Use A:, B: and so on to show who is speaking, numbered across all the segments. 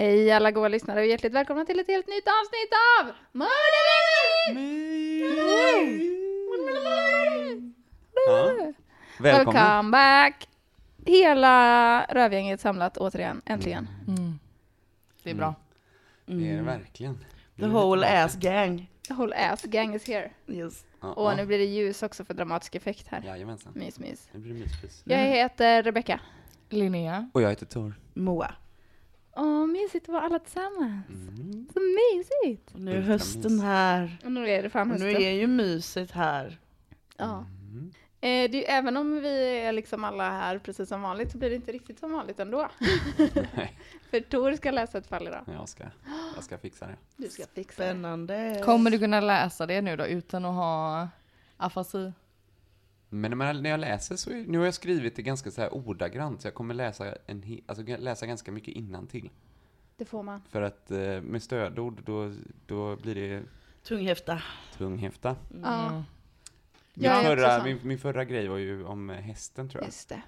A: Hej alla goa lyssnare och hjärtligt välkomna till ett helt nytt avsnitt av Mördarlivet!
B: Ja. Välkomna.
A: Welcome back! Hela rövgänget samlat återigen, äntligen.
C: Det är bra.
D: Mm.
B: Det är
A: Mm.
B: det verkligen.
C: The whole ass gang.
D: Mm.
A: The whole ass gang is here.
C: Yes.
B: Ja,
A: Och
B: ja.
A: nu blir det ljus också för dramatisk effekt här.
B: Jajamensan.
A: Mys, mys.
D: Mm.
B: Nu blir det myspys.
A: Jag heter Rebecka.
D: Linnea.
B: Och jag heter Tor.
D: Moa.
A: Åh, mysigt att vara alla tillsammans.
D: Mm.
A: Så mysigt!
D: Och nu är hösten här.
A: Och nu är det fan
D: Och nu
A: hösten.
D: är ju myset här.
A: Ja.
B: Mm.
A: Eh, det är ju, även om vi är liksom alla här precis som vanligt så blir det inte riktigt som vanligt ändå.
B: Nej,
A: För Tor ska läsa ett fall idag.
B: jag ska, jag ska fixa det.
A: Du ska fixa det.
D: Spännande.
C: Kommer du kunna läsa det nu då utan att ha afasi?
B: Men när man- när jag läser så, är- nu har jag skrivit det ganska så här ordagrant, så jag kommer läsa, en, he- alltså g- läsa ganska mycket innantill.
A: Det får man.
B: För att eh, med stödord, då, då blir det
D: Tunghäfta.
B: tunghäfta.
C: Mm.
A: Ja,
B: Min,
A: Jag är också
B: förra,
A: sån.
B: min, min förra grej var ju om hästen, tror jag.
A: just det.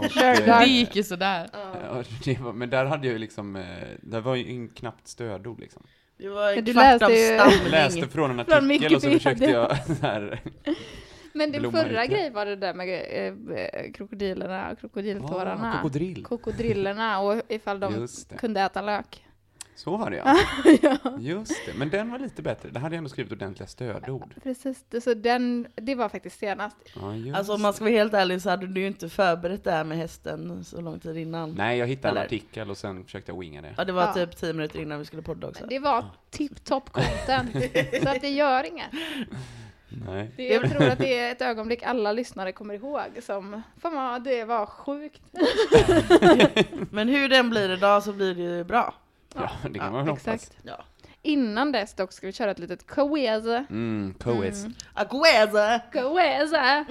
B: Och,
C: Det
B: eh,
C: gick ju sådär.
B: ja, det var, men där hade jag ju liksom, eh, det var ju in, knappt stödord liksom.
D: Det var
A: Men
D: en
A: du
D: kvart av
A: läste ju-
D: stamning.
B: Läste från en
A: Från
B: artikel och så
A: Wikipedia.
B: försökte jag så här,
A: Men din
B: Blomma
A: förra
B: ute.
A: grej var det där med eh, eh, krokodilerna och krokodiltårarna.
B: Ah, Krokodil.
A: Krokodillerna och ifall de
B: Just det.
A: kunde äta lök.
B: Så var det ja. Just det, men den var lite bättre. Där hade jag ändå skrivit ordentliga stödord.
A: Precis, det- så den, det var faktiskt senast.
B: Ja, just.
D: Alltså om man ska vara helt ärlig så hade du ju inte förberett det här med hästen så lång tid innan.
B: Nej, jag hittade
D: Eller?
B: en artikel och sen försökte jag winga det.
D: Ja det var
A: Ja.
D: typ tio minuter innan vi skulle podda också.
A: Det
B: Ah,
A: var tipptopp content, så att det gör inget.
B: Nej.
A: Det, jag tror att det är ett ögonblick alla lyssnare kommer ihåg som, fan vad det var sjukt.
D: Men hur den blir idag så blir det ju bra.
B: Ja, det kan man väl hoppas.
A: Exakt.
D: Ja.
A: Innan dess dock ska vi köra ett litet quiz.
B: Mm, coes.
D: Agueza!
A: Quiz!
B: Coesa.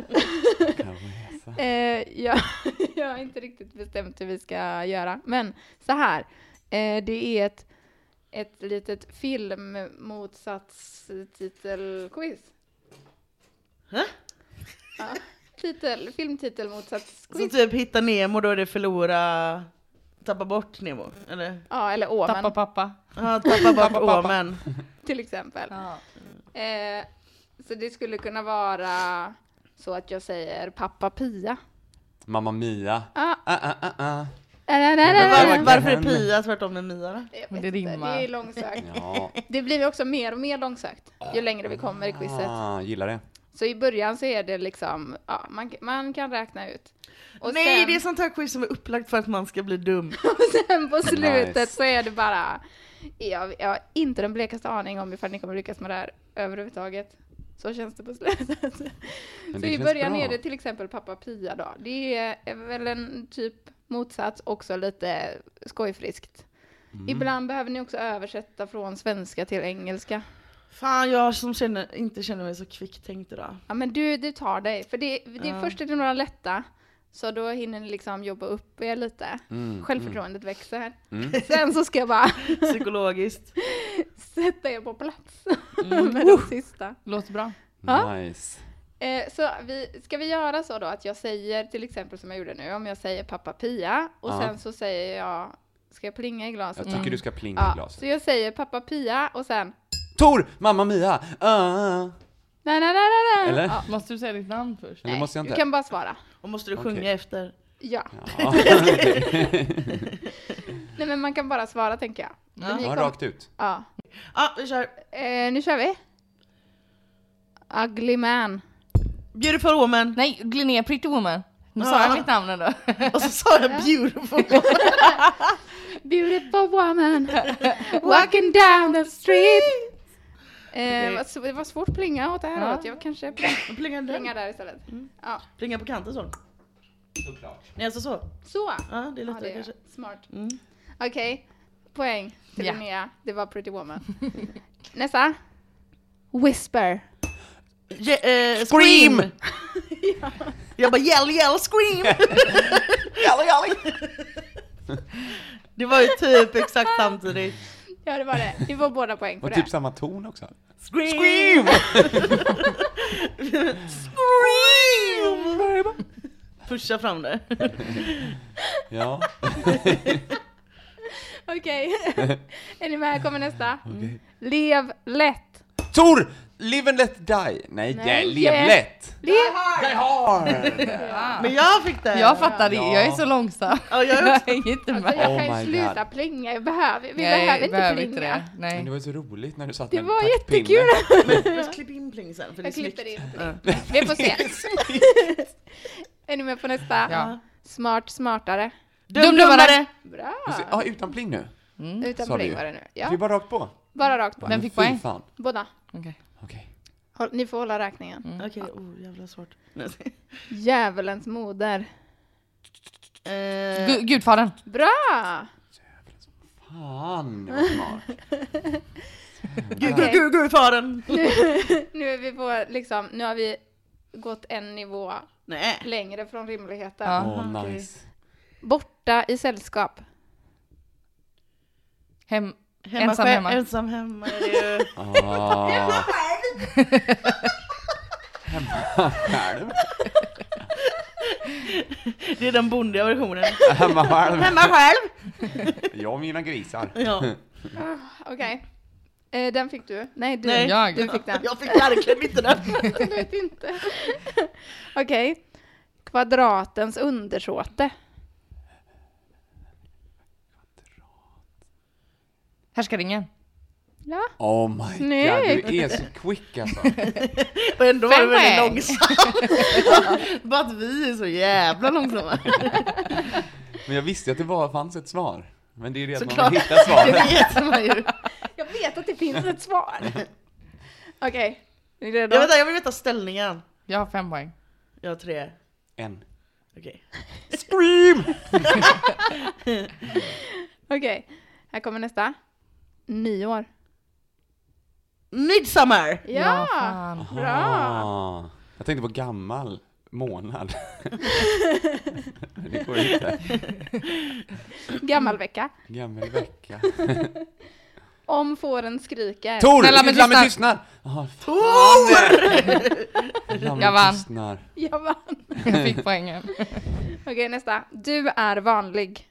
A: eh, jag, jag har inte riktigt bestämt hur vi ska göra, men så här. Eh, det är ett, ett litet filmmotsatstitelquiz.
D: Hä?
A: Ja, titel, filmtitelmotsatsquiz.
D: Så typ hitta Nemo då är det förlora, tappa bort Nemo. Eller?
A: Ja, eller Åmen
C: Tappa pappa.
D: Ja, tappa bort
C: Tappa pappa.
D: Åmen.
A: till exempel.
C: mm.
A: Eh, så det skulle kunna vara så att jag säger pappa Pia.
B: Mamma Mia.
A: Ah.
B: Ah, ah, ah, ah.
D: Men var,
B: Mm.
D: varför är Pia tvärtom med Mia då?
A: Jag
C: Men
A: vet
C: det
A: inte,
C: rimmar.
A: Det är långsökt.
B: Ja.
A: Det blir ju också mer och mer långsökt ju längre vi kommer i quizet.
B: Ah, gillar det.
A: Så i början så är det liksom, ja, man, man kan räkna ut. Och
D: Nej
A: sen,
D: det är sånt här quiz som är upplagt för att man ska bli dum.
A: sen på slutet
B: Nice.
A: så är det bara, jag, jag har inte den blekaste aning om ifall ni kommer lyckas med det här överhuvudtaget. Så känns det på slutet.
B: Men
A: Så
B: det
A: i
B: känns
A: början
B: bra.
A: är det till exempel pappa Pia då. Det är väl en typ motsats, också lite skojfriskt.
B: Mm.
A: Ibland behöver ni också översätta från svenska till engelska.
D: Fan jag som känner, inte känner mig så kvicktänkt idag.
A: Ja men du, du tar dig. För det, det, först är det några lätta, så då hinner ni liksom jobba upp er lite.
B: Mm,
A: Självförtroendet växer. Sen så ska jag bara
D: Psykologiskt.
A: sätta er på plats
B: Mm.
A: med de
B: Uh.
A: sista.
C: Låter bra.
A: Ja.
B: Nice.
A: Eh, så vi, ska vi göra så då att jag säger till exempel som jag gjorde nu, om jag säger pappa Pia och
B: Ja.
A: sen så säger jag, ska jag plinga i glaset?
B: Jag tycker du ska plinga i
A: ja,
B: glaset.
A: så jag säger pappa Pia och sen
B: Tor! Mamma Mia! Ah, ah, ah.
A: nej, nej, nej, nej, nej.
B: Eller?
A: Ja,
C: Måste du säga ditt namn först?
B: Eller måste jag
A: du
B: inte?
A: kan bara svara.
D: Och måste du
B: Okej.
D: sjunga efter.
A: Ja.
B: Ja,
A: Nej, men man kan bara svara tänker jag. Men ni
B: ja
A: kom-
B: rakt ut.
A: ja.
D: Ja, vi kör.
A: Eh, nu kör vi. Ugly man.
D: Beautiful woman.
C: Nej, Linnea Pretty Woman. Nu
D: Ja.
C: sa jag mitt namn ändå.
D: Och så sa jag beautiful woman.
A: Beautiful woman. Walking down the street. Eh, vad sv- det var svårt att plinga åt det här
C: Ja.
A: åt. Jag kanske
D: Plingar
A: plingar
D: den.
A: där istället. Ja.
D: Plingar på kanten så. Nej alltså så.
A: Så.
D: Ja, det är
A: Ja,
D: lättare
A: det är
D: kanske.
A: smart.
D: Mm.
A: Okej, poäng till
C: Ja.
A: Linnea. Det var Pretty Woman. Nästa. Whisper.
D: Je- eh,
C: Scream!
D: scream! Jag bara yell yell scream! yell yell! Det var ju typ exakt samtidigt.
A: Ja, det var det. Ni får båda poäng för
B: Och
A: det.
B: typ samma ton också.
D: Scream! Scream! Pusha fram det.
B: Ja,
A: Okej. är ni med? Kommer nästa. Lev lätt.
B: Tor! Live and let die. Nej,
A: Nej.
B: lev lätt.
A: Lev.
B: Die hard!
D: Men jag fick det!
C: Jag fattar det,
B: Ja.
C: jag är så långsam.
D: Ja, jag är också.
C: hänger inte med.
A: Alltså, jag
B: Oh
A: kan
B: my
A: ju sluta
B: God.
A: plinga. Jag behöver, vi
C: Nej,
A: behöver inte
C: behöver
A: plinga.
C: det.
B: Men det
C: Nej.
B: var ju så roligt när du satt
A: Det
B: med en
A: var
B: taktpinne.
A: jättekul.
D: Men klipp in pling sen för det är
A: Jag
D: snyggt.
A: klipper in. Vi får se. är ni med på nästa?
C: Ja.
A: Smart smartare.
C: Dumdummare!
A: Bra. Mm.
B: Ja, utan pling nu.
A: Utan
B: sa vi
A: pling
B: ju.
A: var det nu.
B: Vi är
A: Ja.
B: bara rakt på.
A: Bara rakt
B: Ja,
A: på.
B: men
C: fick
B: fy
C: poäng?
B: Fan.
A: Båda. Mm.
C: Okej.
B: Okej.
A: Håll- Ni får hålla räkningen.
C: Mm.
D: Okej, oh jävla svårt. Nej, jag skojar.
A: Djävulens moder.
D: Eh,
C: Gu- Gudfadern.
A: Bra!
B: Fan, det var smart.
D: Gud, gud, gud, gud, faren!
A: Nu är vi på liksom, nu har vi gått en nivå
D: Nej.
A: längre från rimligheten.
C: Ja.
B: Åh,
D: Aha, okej.
B: nice.
A: Borta i sällskap.
C: Hem.
D: Hemma,
C: Ensam
D: själv-
C: hemma.
D: Ensam hemma är det ju.
B: Ah. Hemma själv.
D: Det är den bondiga versionen.
B: Hemma själv.
D: Hemma själv!
B: Jag och mina grisar.
D: Ja.
A: Okej. Eh, den fick du. Nej, du.
D: Nej.
C: Jag.
A: Du fick den.
D: Jag fick verkligen inte den.
A: Jag vet inte. Okej. Kvadratens undersåte.
C: Härskaringen.
A: Ja.
B: Oh my
A: Snyggt.
B: god, du är så quick alltså.
D: Och ändå var det
C: Fem
D: väldigt
C: poäng.
D: långsamt. Bara att vi är så jävla långsamma.
B: Men jag visste ju att det var, fanns ett svar. Men det är ju det att man
D: Såklart.
B: vill hitta svaret.
D: vet man ju.
A: Jag vet att det finns ett svar. Okej. Är ni redo?
D: Jag, vänta, jag vill veta ställningen.
C: Jag har fem poäng.
D: Jag har tre.
B: En.
D: Okej.
B: Scream!
A: Okej. Här kommer nästa. Nyår.
D: Midsommar!
A: Ja!
C: fan.
A: Bra!
B: Ah, jag tänkte på gammal månad. Men det går ju inte.
A: Gammalvecka.
B: Gammal vecka.
A: Om fåren skriker.
B: Tor!
C: Snälla, men
B: Lammet
C: tystnar.
B: tystnar! Jaha, fan.
C: Jag
B: Lammet
C: vann.
B: tystnar.
A: Jag vann.
C: Jag fick poängen.
A: Okej, nästa. Du är vanlig.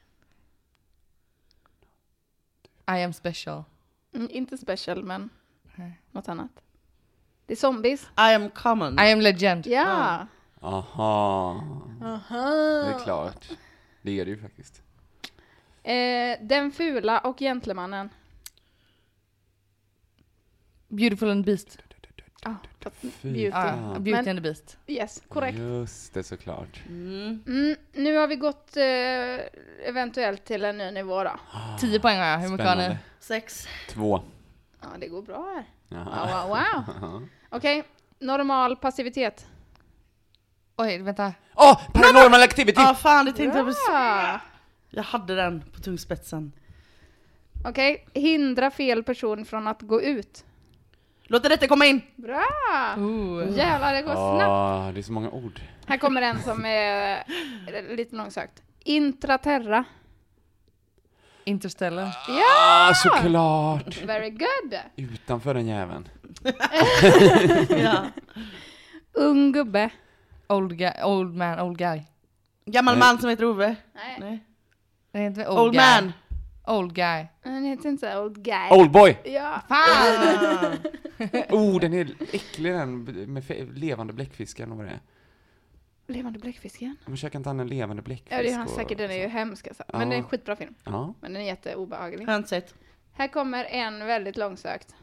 C: I am special.
A: Mm, inte special, men något annat. Det är zombies.
D: I am common.
C: I am legend.
A: Ja!
B: Aha. Det är klart. Det är det ju faktiskt.
A: Eh, den fula och gentlemannen.
C: Beautiful and the beast.
A: Ah, fast
B: Fy
A: beauty.
C: Ja,
B: fan.
C: Beauty
A: Men-
C: and the beast.
A: Yes, korrekt.
B: Just det, såklart.
A: Mm, nu har vi gått eh, eventuellt till en ny nivå då.
C: Tio poäng har jag. Hur mycket har ni?
B: Ah. Spännande.
D: Sex.
B: Två.
A: Ja, det går bra här.
B: Jaha.
A: Wow, wow, wow. Okej, normal passivitet.
C: Oj, vänta.
B: Åh! paranormal activity!
D: Ja ah, fan det tänkte jag precis.
A: Ah.
D: Jag hade den på tungspetsen.
A: Okej, hindra fel person från att gå ut.
D: Låt det komma in!
A: Bra!
C: Ooh.
A: Jävlar, det går snabbt.
B: Ah, det är så många ord.
A: Här kommer en som är eh, lite långsökt. Intraterra.
C: Interstellar.
B: Ah, såklart!
A: Very good!
B: Utanför den jäveln.
D: Ja.
A: Ung gubbe.
C: Old, guy, old man, old guy.
D: Gammal
B: Nej.
D: man som heter Ove.
A: Nej,
D: Nej.
C: Det heter väl
D: Old,
C: old, guy.
D: man.
C: Old guy.
A: han heter inte så old guy.
B: Oldboy!
A: Ja,
C: Fan!
D: Ah.
B: Oh, den är äcklig den med fe- levande bläckfiskar och vad det är.
A: Levande bläckfisken?
B: Men käkar inte han en levande bläckfisk?
A: Ja, det är han
B: och-
A: säkert. Den är ju hemsk alltså. Men
B: liksom. Ja.
A: det är en skitbra film.
B: Ja.
A: Men den är jätteobehaglig.
D: Har jag inte sett.
A: Här kommer en väldigt långsökt.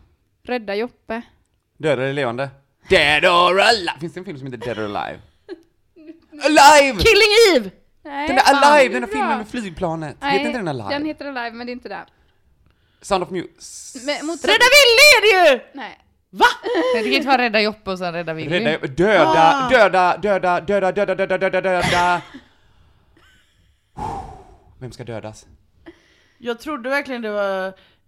A: Rädda Joppe.
B: Döda eller levande? Dead or alive! Finns det en film som heter Dead or alive? alive!
D: Killing Eve!
A: Nej,
B: Den där
A: fan,
B: Alive,
A: det är
B: den där
A: bra.
B: filmen med flygplanet.
A: Nej,
B: heter inte den Alive?
A: Den heter Alive, men det är inte där.
B: Sound of Music.
A: Men mot-
D: Rädda Willy är det ju!
A: Nej.
D: Va?
C: Nej, det kan inte vara Rädda Joppe och sen Rädda Willy.
B: Rädda,
A: Ah.
B: döda, döda, döda, döda, döda, döda, döda, döda. Vem ska dödas?
D: Jag trodde verkligen det var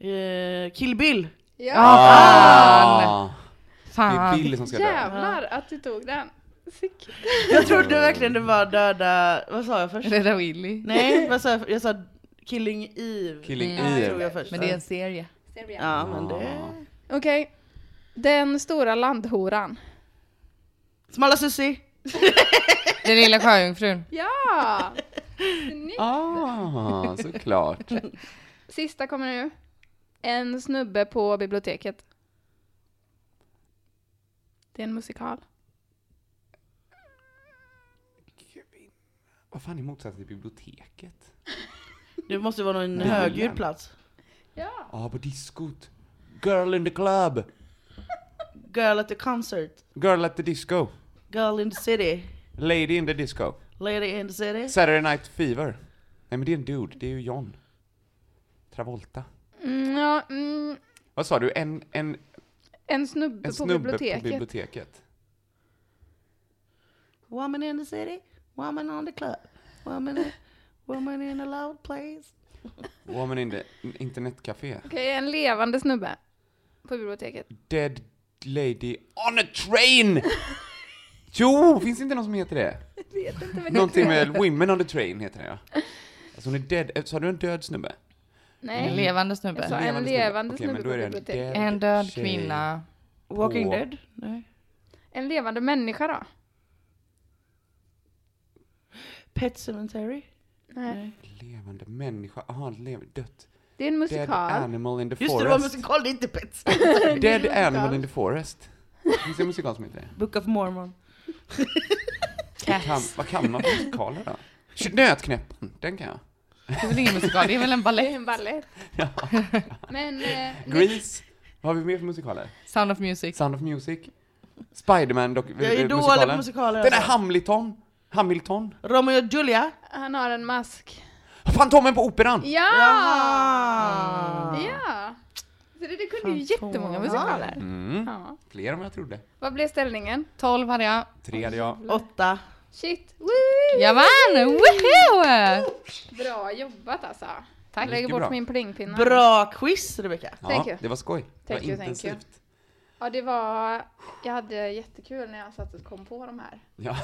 D: eh, Kill Bill.
A: Ja,
B: Ah, det är
C: Fan.
B: Bill som ska dö.
A: jävlar att du tog den. Sick.
D: Jag trodde verkligen det var döda... Vad sa jag först?
C: Rädda Willy.
D: Nej, vad sa jag? Jag sa Killing Eve.
B: Killing
D: Tror
B: Eve.
D: jag först.
C: Men det är en serie.
D: Ja, men det...
A: Okej. Den stora landhoran.
D: Smala Sussi.
C: Den lilla sjöjungfrun.
A: Ja!
B: Ah, såklart.
A: Sista kommer nu. En snubbe på biblioteket. Det är en musikal.
B: Vad fan är motsatsen till biblioteket?
D: Det måste vara någon högljudd plats.
A: Ja.
B: Ja, ah, på diskot. Girl in the club.
D: Girl at the concert.
B: Girl at the disco.
D: Girl in the city.
B: Lady in the disco.
D: Lady in the city.
B: Saturday Night Fever. Nej men det är en dude, det är ju John. Travolta.
A: Mm, ja mm,
B: Vad sa du? En, en,
A: en snubbe,
B: en
A: på,
B: snubbe
A: biblioteket.
B: på biblioteket?
D: Woman in the city. Woman on the club. Woman in, woman in a loud place.
B: Woman in the internetcafé.
A: Okej, en levande snubbe. På biblioteket.
B: Dead lady on a train! Jo, finns det inte någon som heter det?
A: Vet inte vad det
B: Någonting med women on the train heter det ja. Alltså hon är dead, sa du en död snubbe?
A: Nej.
C: En levande
A: Jag sa
C: snubbe.
A: en levande
B: Okej,
A: snubbe
B: men då är
A: på
B: det en
A: biblioteket.
B: dead
C: En död
B: tjej.
C: kvinna.
D: Walking
B: På-
D: Dead? Nej.
A: En levande människa då?
D: Pet Cemetery?
A: Nej.
B: Levande människa, aha, lev, dött.
A: Det är en
B: Dead
A: musikal.
B: animal in the
D: Just det, det var
B: forest.
D: musikal, det är inte Pet
B: Dead animal in the forest. Finns det en musikal som heter det?
D: Book of Mormon.
B: Vad kan, vad kan man på musikaler då? Kör Nötknäppen, den kan jag.
C: Det är väl ingen musikal, det är väl en
A: Det är
C: balett.
A: en ballett. Men... Eh,
B: Grease. Vad har vi mer för musikaler?
C: Sound of Music.
B: Sound of Music. Spiderman dock,
D: Jag är
B: musikalen.
D: dålig på musikaler.
B: Den där
D: alltså.
B: Hamilton. Hamilton.
D: Romeo och Julia?
A: han har en mask.
B: Fantomen på Operan!
A: Ja!
B: Ah.
D: Jaha!
A: Ja! Så det, det kunde ju jättemånga musikaler.
B: Mm.
A: Ja.
B: Fler än vad jag trodde.
A: Vad blev ställningen?
C: 12 hade jag.
B: Tre hade jag.
D: Åtta.
A: Shit! Woo!
C: Jag vann! Woho!
A: Bra jobbat alltså.
C: Tack.
A: Jag lägger
B: Mycket
A: bort
B: bra.
A: min plingpinne.
D: Bra quiz Rebecka.
B: Ja,
A: Thank you.
B: det var skoj. Det var
A: Thank you, thank you.
B: intensivt.
A: Ja, det var... Jag hade jättekul när jag satt och kom på de här.
B: Ja,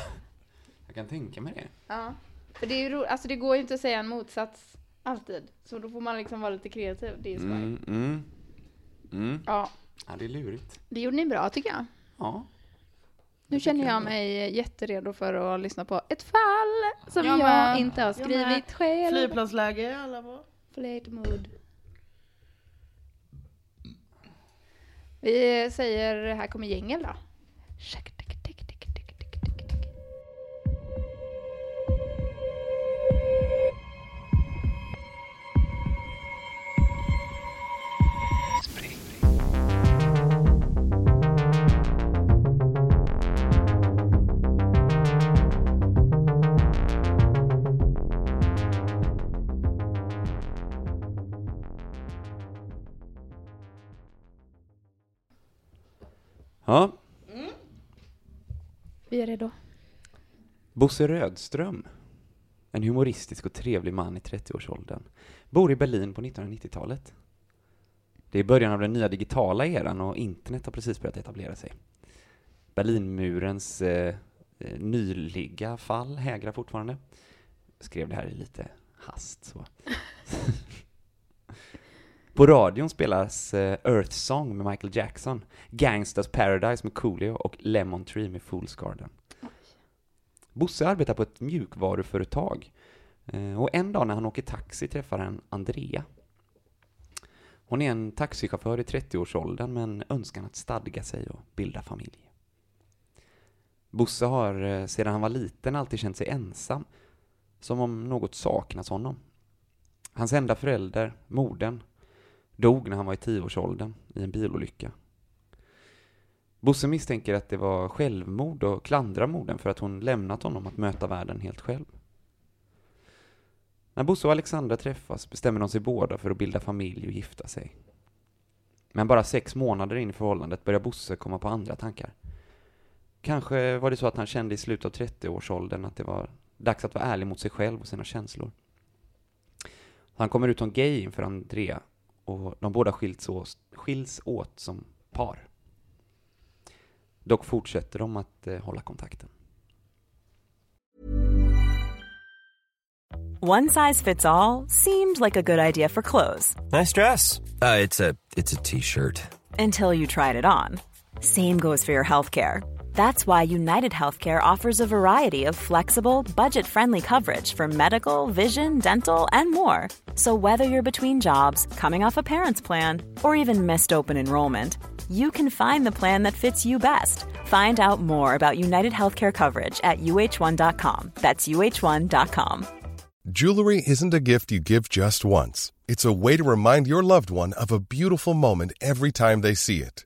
B: jag kan tänka mig det.
A: Ja. För det är ju roligt. Alltså det går ju inte att säga en motsats alltid. Så då får man liksom vara lite kreativ. Det är ju skoj.
B: Mm, mm. Mm.
A: Ja.
B: Ja, det är lurigt.
A: Det gjorde ni bra tycker jag.
B: Ja.
A: Nu känner jag mig jätteredo för att lyssna på ett fall som jag,
C: Jag med.
A: inte har
D: Jag med.
A: skrivit själv.
D: Flygplansläge alla var.
A: Flight mode. Vi säger här kommer gängel då.
B: ja.
A: Vi är redo.
B: Bosse Rödström, en humoristisk och trevlig man i 30-årsåldern, bor i Berlin på 1990-talet. Det är början av den nya digitala eran och internet har precis börjat etablera sig. Berlinmurens eh, eh, nyliga fall hägrar fortfarande. Jag skrev det här i lite hast. Så. på radion spelas eh, Earth Song med Michael Jackson, Gangsters Paradise med Coolio och Lemon Tree med Fool's Garden. Bosse arbetar på ett mjukvaruföretag Eh, och en dag när han åker taxi träffar han Andrea. Hon är en taxichaufför i 30-årsåldern men önskan att stadga sig och bilda familj. Bosse har eh, sedan han var liten alltid känt sig ensam, som om något saknas honom. Hans enda förälder, modern, dog när han var i tioårsåldern i en bilolycka. Bosse misstänker att det var självmord och klandrar modern för att hon lämnat honom att möta världen helt själv. När Bosse och Alexandra träffas bestämmer de sig båda för att bilda familj och gifta sig. Men bara sex månader in i förhållandet börjar Bosse komma på andra tankar. Kanske var det så att han kände i slutet av 30-årsåldern att det var dags att vara ärlig mot sig själv och sina känslor. Han kommer ut som gay inför Andrea och de båda skiljs åt, skiljs åt som par. Dock fortsätter de att eh, hålla kontakten.
E: One size fits all seemed like a good idea for clothes
F: Nice dress. Uh, it's a it's a t-shirt.
E: until you tried it on. Same goes for your healthcare. That's why United Healthcare offers a variety of flexible, budget friendly coverage for medical, vision, dental, and more. So, whether you're between jobs, coming off a parent's plan, or even missed open enrollment, you can find the plan that fits you best. Find out more about United Healthcare coverage at uh1.com. That's uh1.com.
G: Jewelry isn't a gift you give just once. It's a way to remind your loved one of a beautiful moment every time they see it.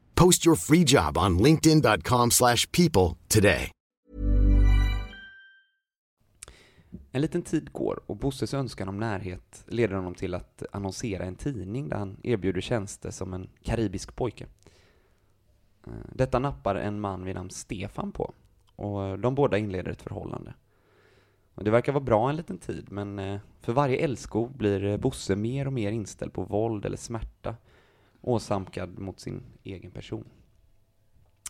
H: Post your free job on linkedin.com/people slash people today.
B: En liten tid går och Bosses önskan om närhet leder honom till att annonsera en tidning där han erbjuder tjänster som en karibisk pojke. Eh, Detta nappar en man vid namn Stefan på och de båda inleder ett förhållande. Och Det verkar vara bra en liten tid men eh, för varje älskog blir eh, Bosse mer och mer inställd på våld eller smärta åsamkad mot sin egen person.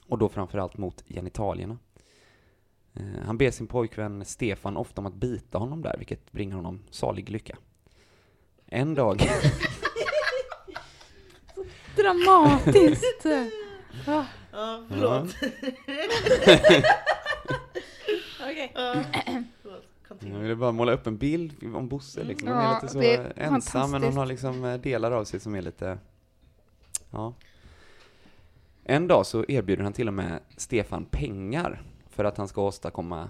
B: Och då framförallt mot genitalierna. Eh, Han ber sin pojkvän Stefan ofta om att bita honom där, vilket bringar honom salig lycka. En dag...
A: Dramatiskt.
D: Ja, förlåt.
A: Okej.
D: Förlåt.
B: Jag
D: Continue.
B: ville bara måla upp en bild om Bosse liksom. Hon
A: Ja,
B: är lite så
A: det är
B: ensam, men hon
A: fantastiskt.
B: har liksom eh, delar av sig som är lite... Ja. En dag så erbjuder han till och med Stefan pengar för att han ska åstadkomma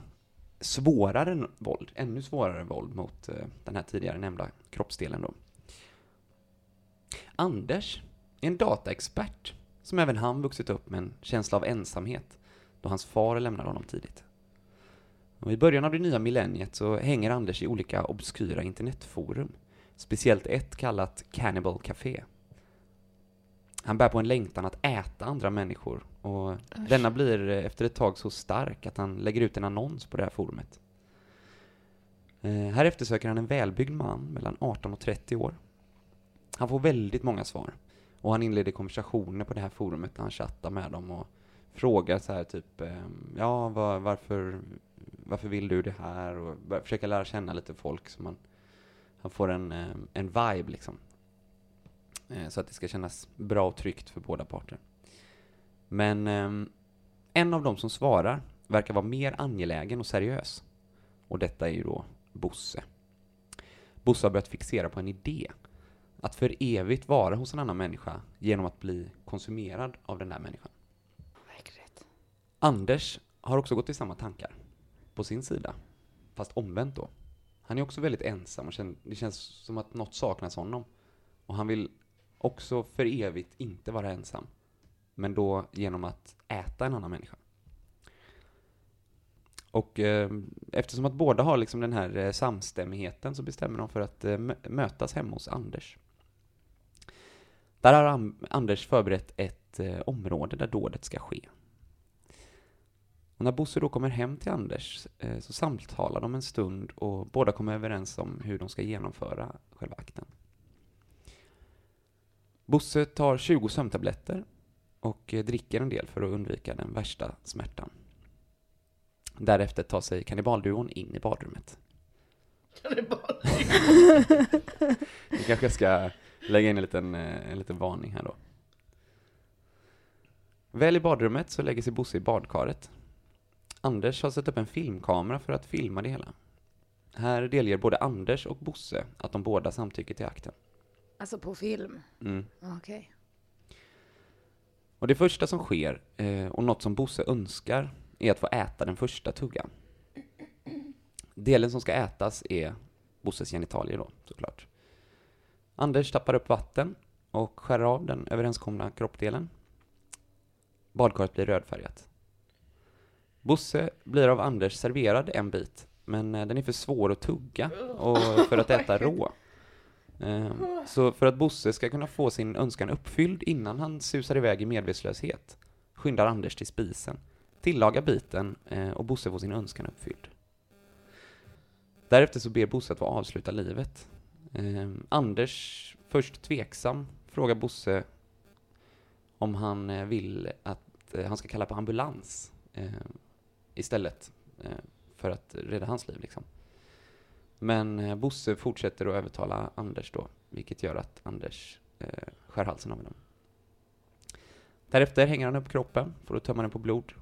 B: svårare n- våld, ännu svårare våld mot eh, den här tidigare nämnda kroppsdelen då. Anders är en dataexpert som även han vuxit upp med en känsla av ensamhet då hans far lämnade honom tidigt. Och I början av det nya millenniet så hänger Anders i olika obskyra internetforum. Speciellt ett kallat Cannibal Café. Han bär på en längtan att äta andra människor och denna blir eh, efter ett tag så stark att han lägger ut en annons på det här forumet. Eh, här eftersöker han en välbyggd man mellan 18 och 30 år. Han får väldigt många svar och han inleder konversationer på det här forumet där han chattar med dem och frågar så här typ eh, ja var, varför varför vill du det här? Och börja försöka lära känna lite folk så man, man får en, eh, en vibe liksom. Eh, Så att det ska kännas bra och tryggt för båda parter. Men eh, en av dem som svarar verkar vara mer angelägen och seriös. Och detta är ju då Bosse. Bosse har börjat fixera på en idé. Att för evigt vara hos en annan människa genom att bli konsumerad av den där människan. Anders har också gått i samma tankar på sin sida, fast omvänt då. Han är också väldigt ensam och känner, det känns som att något saknas honom. Och han vill också för evigt inte vara ensam, men då genom att äta en annan människa. Och eh, eftersom att båda har liksom den här eh, samstämmigheten så bestämmer de för att eh, mö- mötas hemma hos Anders. Där har Am- Anders förberett ett eh, område där dådet ska ske. Och när Bosse då kommer hem till Anders eh, så samtalar de en stund och båda kommer överens om hur de ska genomföra själva akten. Bosse tar 20 sömntabletter och eh, dricker en del för att undvika den värsta smärtan. Därefter tar sig kannibalduon in i badrummet. Vi kanske ska lägga in en liten, eh, en liten varning här då. Väl i badrummet så lägger sig Bosse i badkaret. Anders har satt upp en filmkamera för att filma det hela. Här delger både Anders och Bosse att de båda samtycker till akten.
A: Alltså på film?
B: Mm.
A: Okej.
B: Och det första som sker, eh, och något som Bosse önskar, är att få äta den första tuggan. Delen som ska ätas är Bosses genitalier då, såklart. Anders tappar upp vatten och skär av den överenskomna kroppdelen. Badkaret blir rödfärgat. Bosse blir av Anders serverad en bit, men eh, den är för svår att tugga och för att äta rå. Eh, Så för att Bosse ska kunna få sin önskan uppfylld innan han susar iväg i medvetslöshet skyndar Anders till spisen, tillagar biten eh, och Bosse får sin önskan uppfylld. Därefter så ber Bosse att få avsluta livet. Eh, Anders, först tveksam, frågar Bosse om han eh, vill att eh, han ska kalla på ambulans eh, istället eh, för att rädda hans liv. Liksom. Men eh, Bosse fortsätter att övertala Anders då, vilket gör att Anders eh, skär halsen av honom. Därefter hänger han upp kroppen för att tömma den på blod,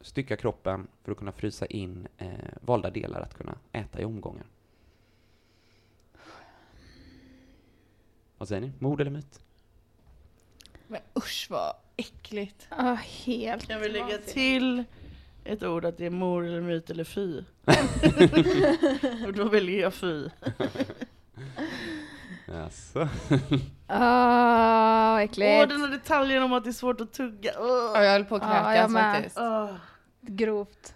B: stycka kroppen för att kunna frysa in eh, valda delar att kunna äta i omgångar. Vad säger ni? Mord eller myt?
C: Men usch vad äckligt.
A: Ja, helt
D: Kan vi lägga
A: vansinnigt.
D: till ett ord att det är mor eller myt eller fy? Och då väljer jag fy.
B: Jaså?
A: Åh, vad
D: Åh,
A: Ah, äckligt.
D: den här detaljen om att det är svårt att tugga. Åh.
C: Ja, jag höll på att
A: Ja,
C: kräkas
A: jag med.
C: faktiskt.
D: Åh.
A: Grovt.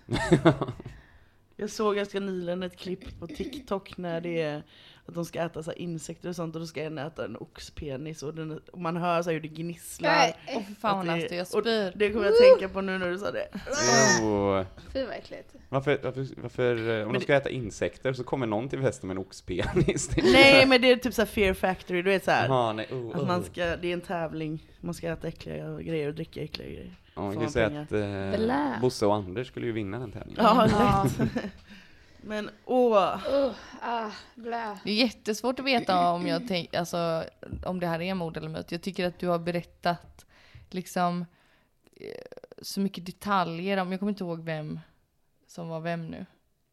D: Jag såg ganska nyligen ett klipp på TikTok när det är att de ska äta så här insekter och sånt och då ska en äta en oxpenis och, den, och man hör så här hur det gnisslar.
A: Nej,
C: Åh fy fan
D: Att
C: vad
D: det-
C: nasty, jag
D: och
C: spyr.
D: Det kommer jag att tänka på nu när du sa det.
B: Oh.
A: Fy vad äckligt.
B: Varför, varför, varför, eh, om
D: Men
B: de ska äta insekter så kommer någon till festen med en oxpenis?
D: Nej men det är typ så här Fear Factory, du vet så här.
B: Jaha, nej, oh,
D: Att
B: oh.
D: man ska, det är en tävling, man ska äta äckliga grejer och dricka äckliga grejer.
B: Ja, man kan
D: Får
B: ju
D: man
B: säga
D: pengar.
B: att eh,
A: Blä.
B: Bosse och Anders skulle ju vinna den tävlingen.
D: Ja, lätt. Men åh,
A: Uh, ah, blä.
C: Det är jättesvårt att veta om, jag tänk, alltså, om det här är mord eller myt. Jag tycker att du har berättat liksom eh, så mycket detaljer om, jag kommer inte ihåg vem som var vem nu.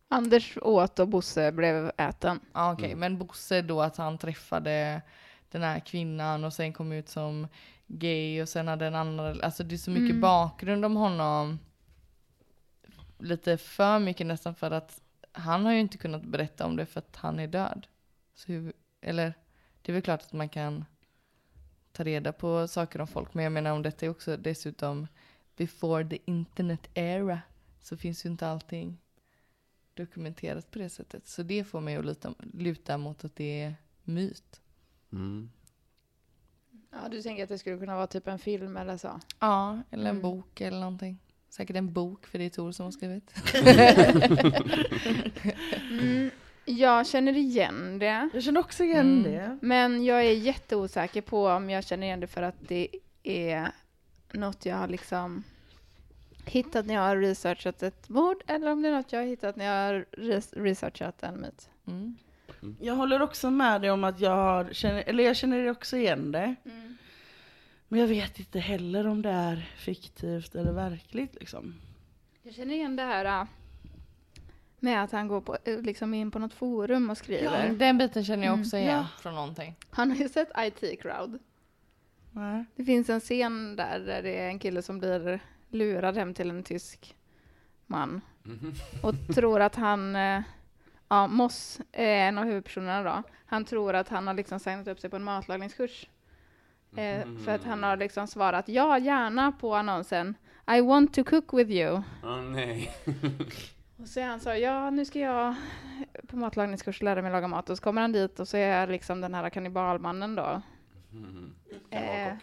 A: Anders åt och Bosse blev äten.
C: Ja okej, men Bosse då att han träffade den här kvinnan och sen kom ut som gay och sen hade en annan, alltså det är så mycket
A: Mm.
C: bakgrund om honom. Lite för mycket nästan för att han har ju inte kunnat berätta om det för att han är död. Så hur, eller det är väl klart att man kan ta reda på saker om folk, men jag menar om detta är också dessutom before the internet era så finns ju inte allting dokumenterat på det sättet. Så det får mig att luta, luta mot att det är myt.
B: Mm.
A: Ja, du tänker att det skulle kunna vara typ en film eller så?
C: Ja, eller en
A: Mm.
C: bok eller någonting. Säkert en bok, för det är Tor som har skrivit.
A: Mm, jag känner igen det.
D: jag känner också igen
C: Mm.
D: det.
A: Men jag är jätteosäker på om jag känner igen det för att det är något jag har liksom hittat när jag har researchat ett mord eller om det är något jag har hittat när jag har res- researchat en myt.
C: Mm.
D: Jag håller också med dig om att jag har, känner, eller jag känner också igen det.
A: Mm.
D: Men jag vet inte heller om det är fiktivt eller verkligt liksom.
A: ah, Jag känner igen det här äh, Med att han går på, eh, liksom in på något forum och skriver.
C: Ja, den biten känner jag också
A: Mm,
C: igen
A: ja.
C: från någonting.
A: Han har ju sett IT Crowd. Det finns en scen där, där det är en kille som blir lurad hem till en tysk man.
I: Mhm.
A: Och tror att han, eh, ja Moss är en av huvudpersonerna då. Han tror att han har liksom signat upp sig på en matlagningskurs. Eh, För att han har liksom svarat ja gärna på annonsen. I want to cook with you.
B: Åh nej.
A: Och så är han så, här, ja nu ska jag på matlagningskurs lära mig laga mat. Och så kommer han dit och så är liksom den här kannibalmannen då. Eh,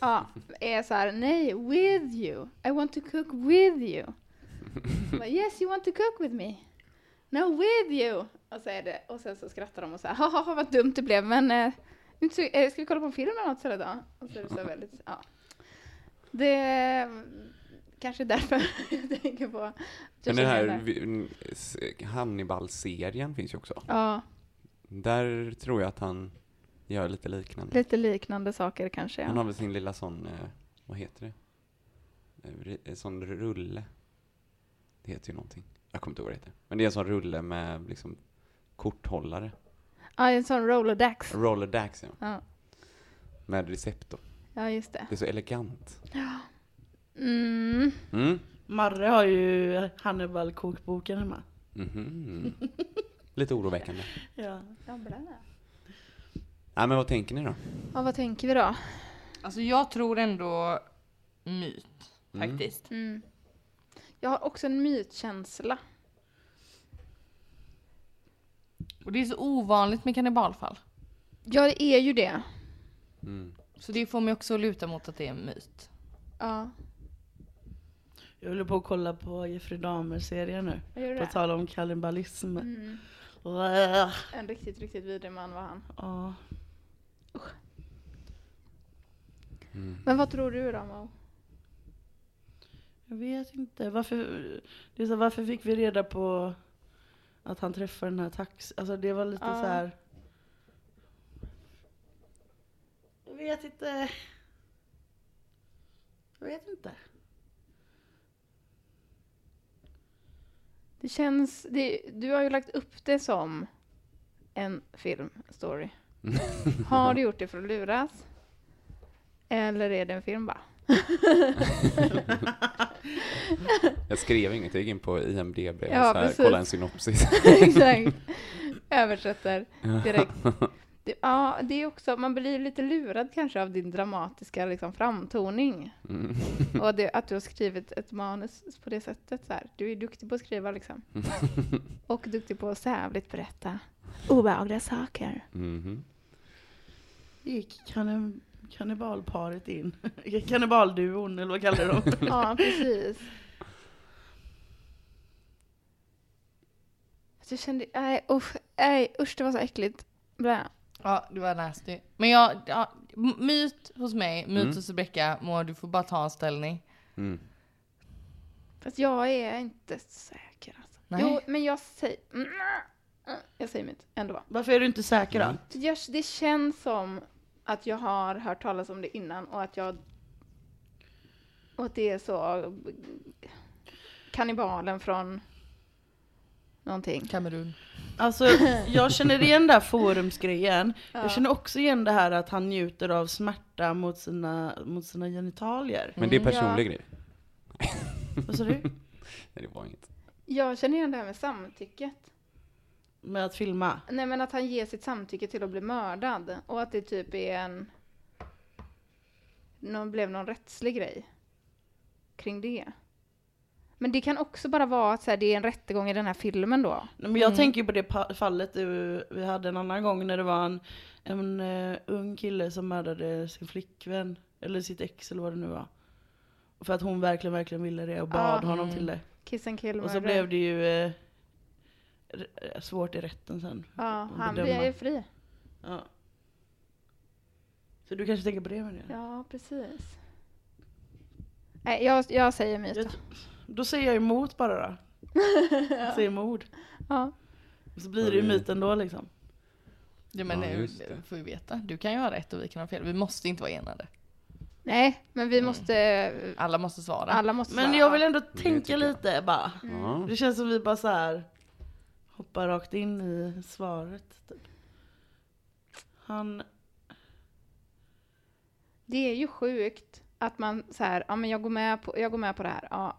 A: ja, är så här, nej, with you. I want to cook with you. Bara, yes, you want to cook with me. No, with you. Och, så är det, och sen så skrattar de och så här, haha vad dumt det blev, men eh, inte så, eh, ska vi kolla på en film eller något sådär då? Och så är det så här väldigt, ja. Det är kanske därför jag tänker på
B: Men den
A: Joshua
B: här
A: Miller.
B: vi- s- Hannibal-serien finns ju också.
A: Ja,
B: Där tror jag att han gör lite liknande.
A: lite liknande saker kanske.
B: Han
A: Ja.
B: har väl sin lilla sån, eh, vad heter det? Eh, ri- eh, Sån rulle. Det heter ju någonting. Jag kommer inte ihåg vad det heter. Men det är en sån rulle med liksom korthållare.
A: ja, Ah, en sån Rolodex.
B: Rolodex, ja.
A: Ja,
B: Med recept då.
A: ja just det.
B: Det är så elegant.
A: Ja. Mm.
B: Mm.
D: Marre har ju Hannibal-kokboken hemma.
B: Mhm. Lite oroväckande.
D: Ja.
B: Nej, men vad tänker ni då?
A: Ja, vad tänker vi då?
C: Alltså jag tror ändå myt,
B: Mm.
C: faktiskt.
A: Mm. Jag har också en mytkänsla.
C: Och det är så ovanligt med kannibalfall.
A: Ja, det är ju det.
C: Så det får mig också att luta mot att det är en myt.
A: Ja.
D: Jag håller på att kolla på Jeffrey Dahmer-serien nu.
A: Vad gör du
D: På
A: där?
D: tal om kannibalism.
A: Mm.
D: Uah.
A: En riktigt, riktigt vidrig man var han.
D: Ja. Mm.
A: Men vad tror du då, Mo?
D: Jag vet inte. Varför, det är så, här, varför fick vi reda på att han träffade den här tax... Alltså det var lite
A: Ja.
D: så här. Jag vet inte. Jag vet inte.
A: Det känns... Det, du har ju lagt upp det som en filmstory. Har du gjort det för att luras? Eller är det en film bara?
B: Jag skrev inget, jag gick in på IMDB och
A: Ja,
B: så här,
A: precis.
B: kollade en synopsis.
A: Exakt. Översätter direkt.
B: Ja.
A: Det, ja, det är också... Man blir lite lurad kanske av din dramatiska liksom, framtoning.
B: Mm.
A: Och det, att du har skrivit ett manus på det sättet. Så här. Du är duktig på att skriva liksom.
B: Mm-hmm.
A: Och duktig på att sävligt berätta obehagliga saker.
B: Mhm.
D: gick kanni- kannibalparet in. Kannibalduon eller vad kallar de
A: Ja, precis. Fast Jag kände, nej usch, nej usch det var så äckligt. Blä.
C: Ja, det var nasty. Men jag, ja, m- myt hos mig, myt
B: Mm.
C: hos Rebecka. Moa, du får bara ta en ställning.
B: Mm.
A: Fast jag är inte säker alltså.
C: Nej.
A: Jo, men jag säger, mm, mm, jag säger mitt ändå.
D: Varför är du inte säker då?
A: Jag, det känns som att jag har hört talas om det innan och att jag och att det är så kannibalen från någonting.
C: Kamerun.
D: Alltså jag känner igen den här forumsgrejen.
A: Ja.
D: Jag känner också igen det här att han njuter av smärta mot sina, mot sina genitalier.
B: Men det är
A: Mm,
B: personlig
A: ja.
B: grej.
D: Vad sa du?
B: Nej, det var inget.
A: Jag känner igen det här med samtycket.
D: Med att filma?
A: Nej men att han ger sitt samtycke till att bli mördad och att det typ är en... Någon, blev någon rättslig grej kring det. Men det kan också bara vara att så här, det är en rättegång i den här filmen då.
D: Nej, Men jag
A: Mm.
D: tänker på det pa- fallet du, vi hade en annan gång när det var en, en eh, ung kille som mördade sin flickvän. Eller sitt ex eller vad det nu var. För att hon verkligen, verkligen ville det och bad
A: Ah.
D: honom
C: Mm.
D: till det.
A: Kiss and kill
D: Och så
A: murder.
D: blev det ju eh, r- svårt i rätten sen.
A: Ja,
D: att
A: han
D: bedöma.
A: blir ju fri.
D: Ja. Så du kanske tänker på det menar jag?
A: Ja, precis. Nej, jag, jag säger myt.
D: Jag t- Då säger jag emot bara då. Jag säger mord.
A: Ja.
D: Så blir det ju myt ändå liksom.
C: Ja, men
B: Ja,
C: nu
B: just det.
C: får vi veta. Du kan ju ha rätt och vi kan ha fel. Vi måste inte vara enade.
A: Nej, men vi måste...
C: Alla måste svara.
A: Alla måste
D: Mm. Men
A: svara.
D: jag vill ändå
B: tycker
D: tänka
B: jag.
A: Mm.
D: lite bara.
B: Ja.
D: Det känns som vi bara så här. hoppar rakt in i svaret. Typ. Han,
A: Det är ju sjukt att man så här, ja men jag går med på, jag går med på det här. Ja.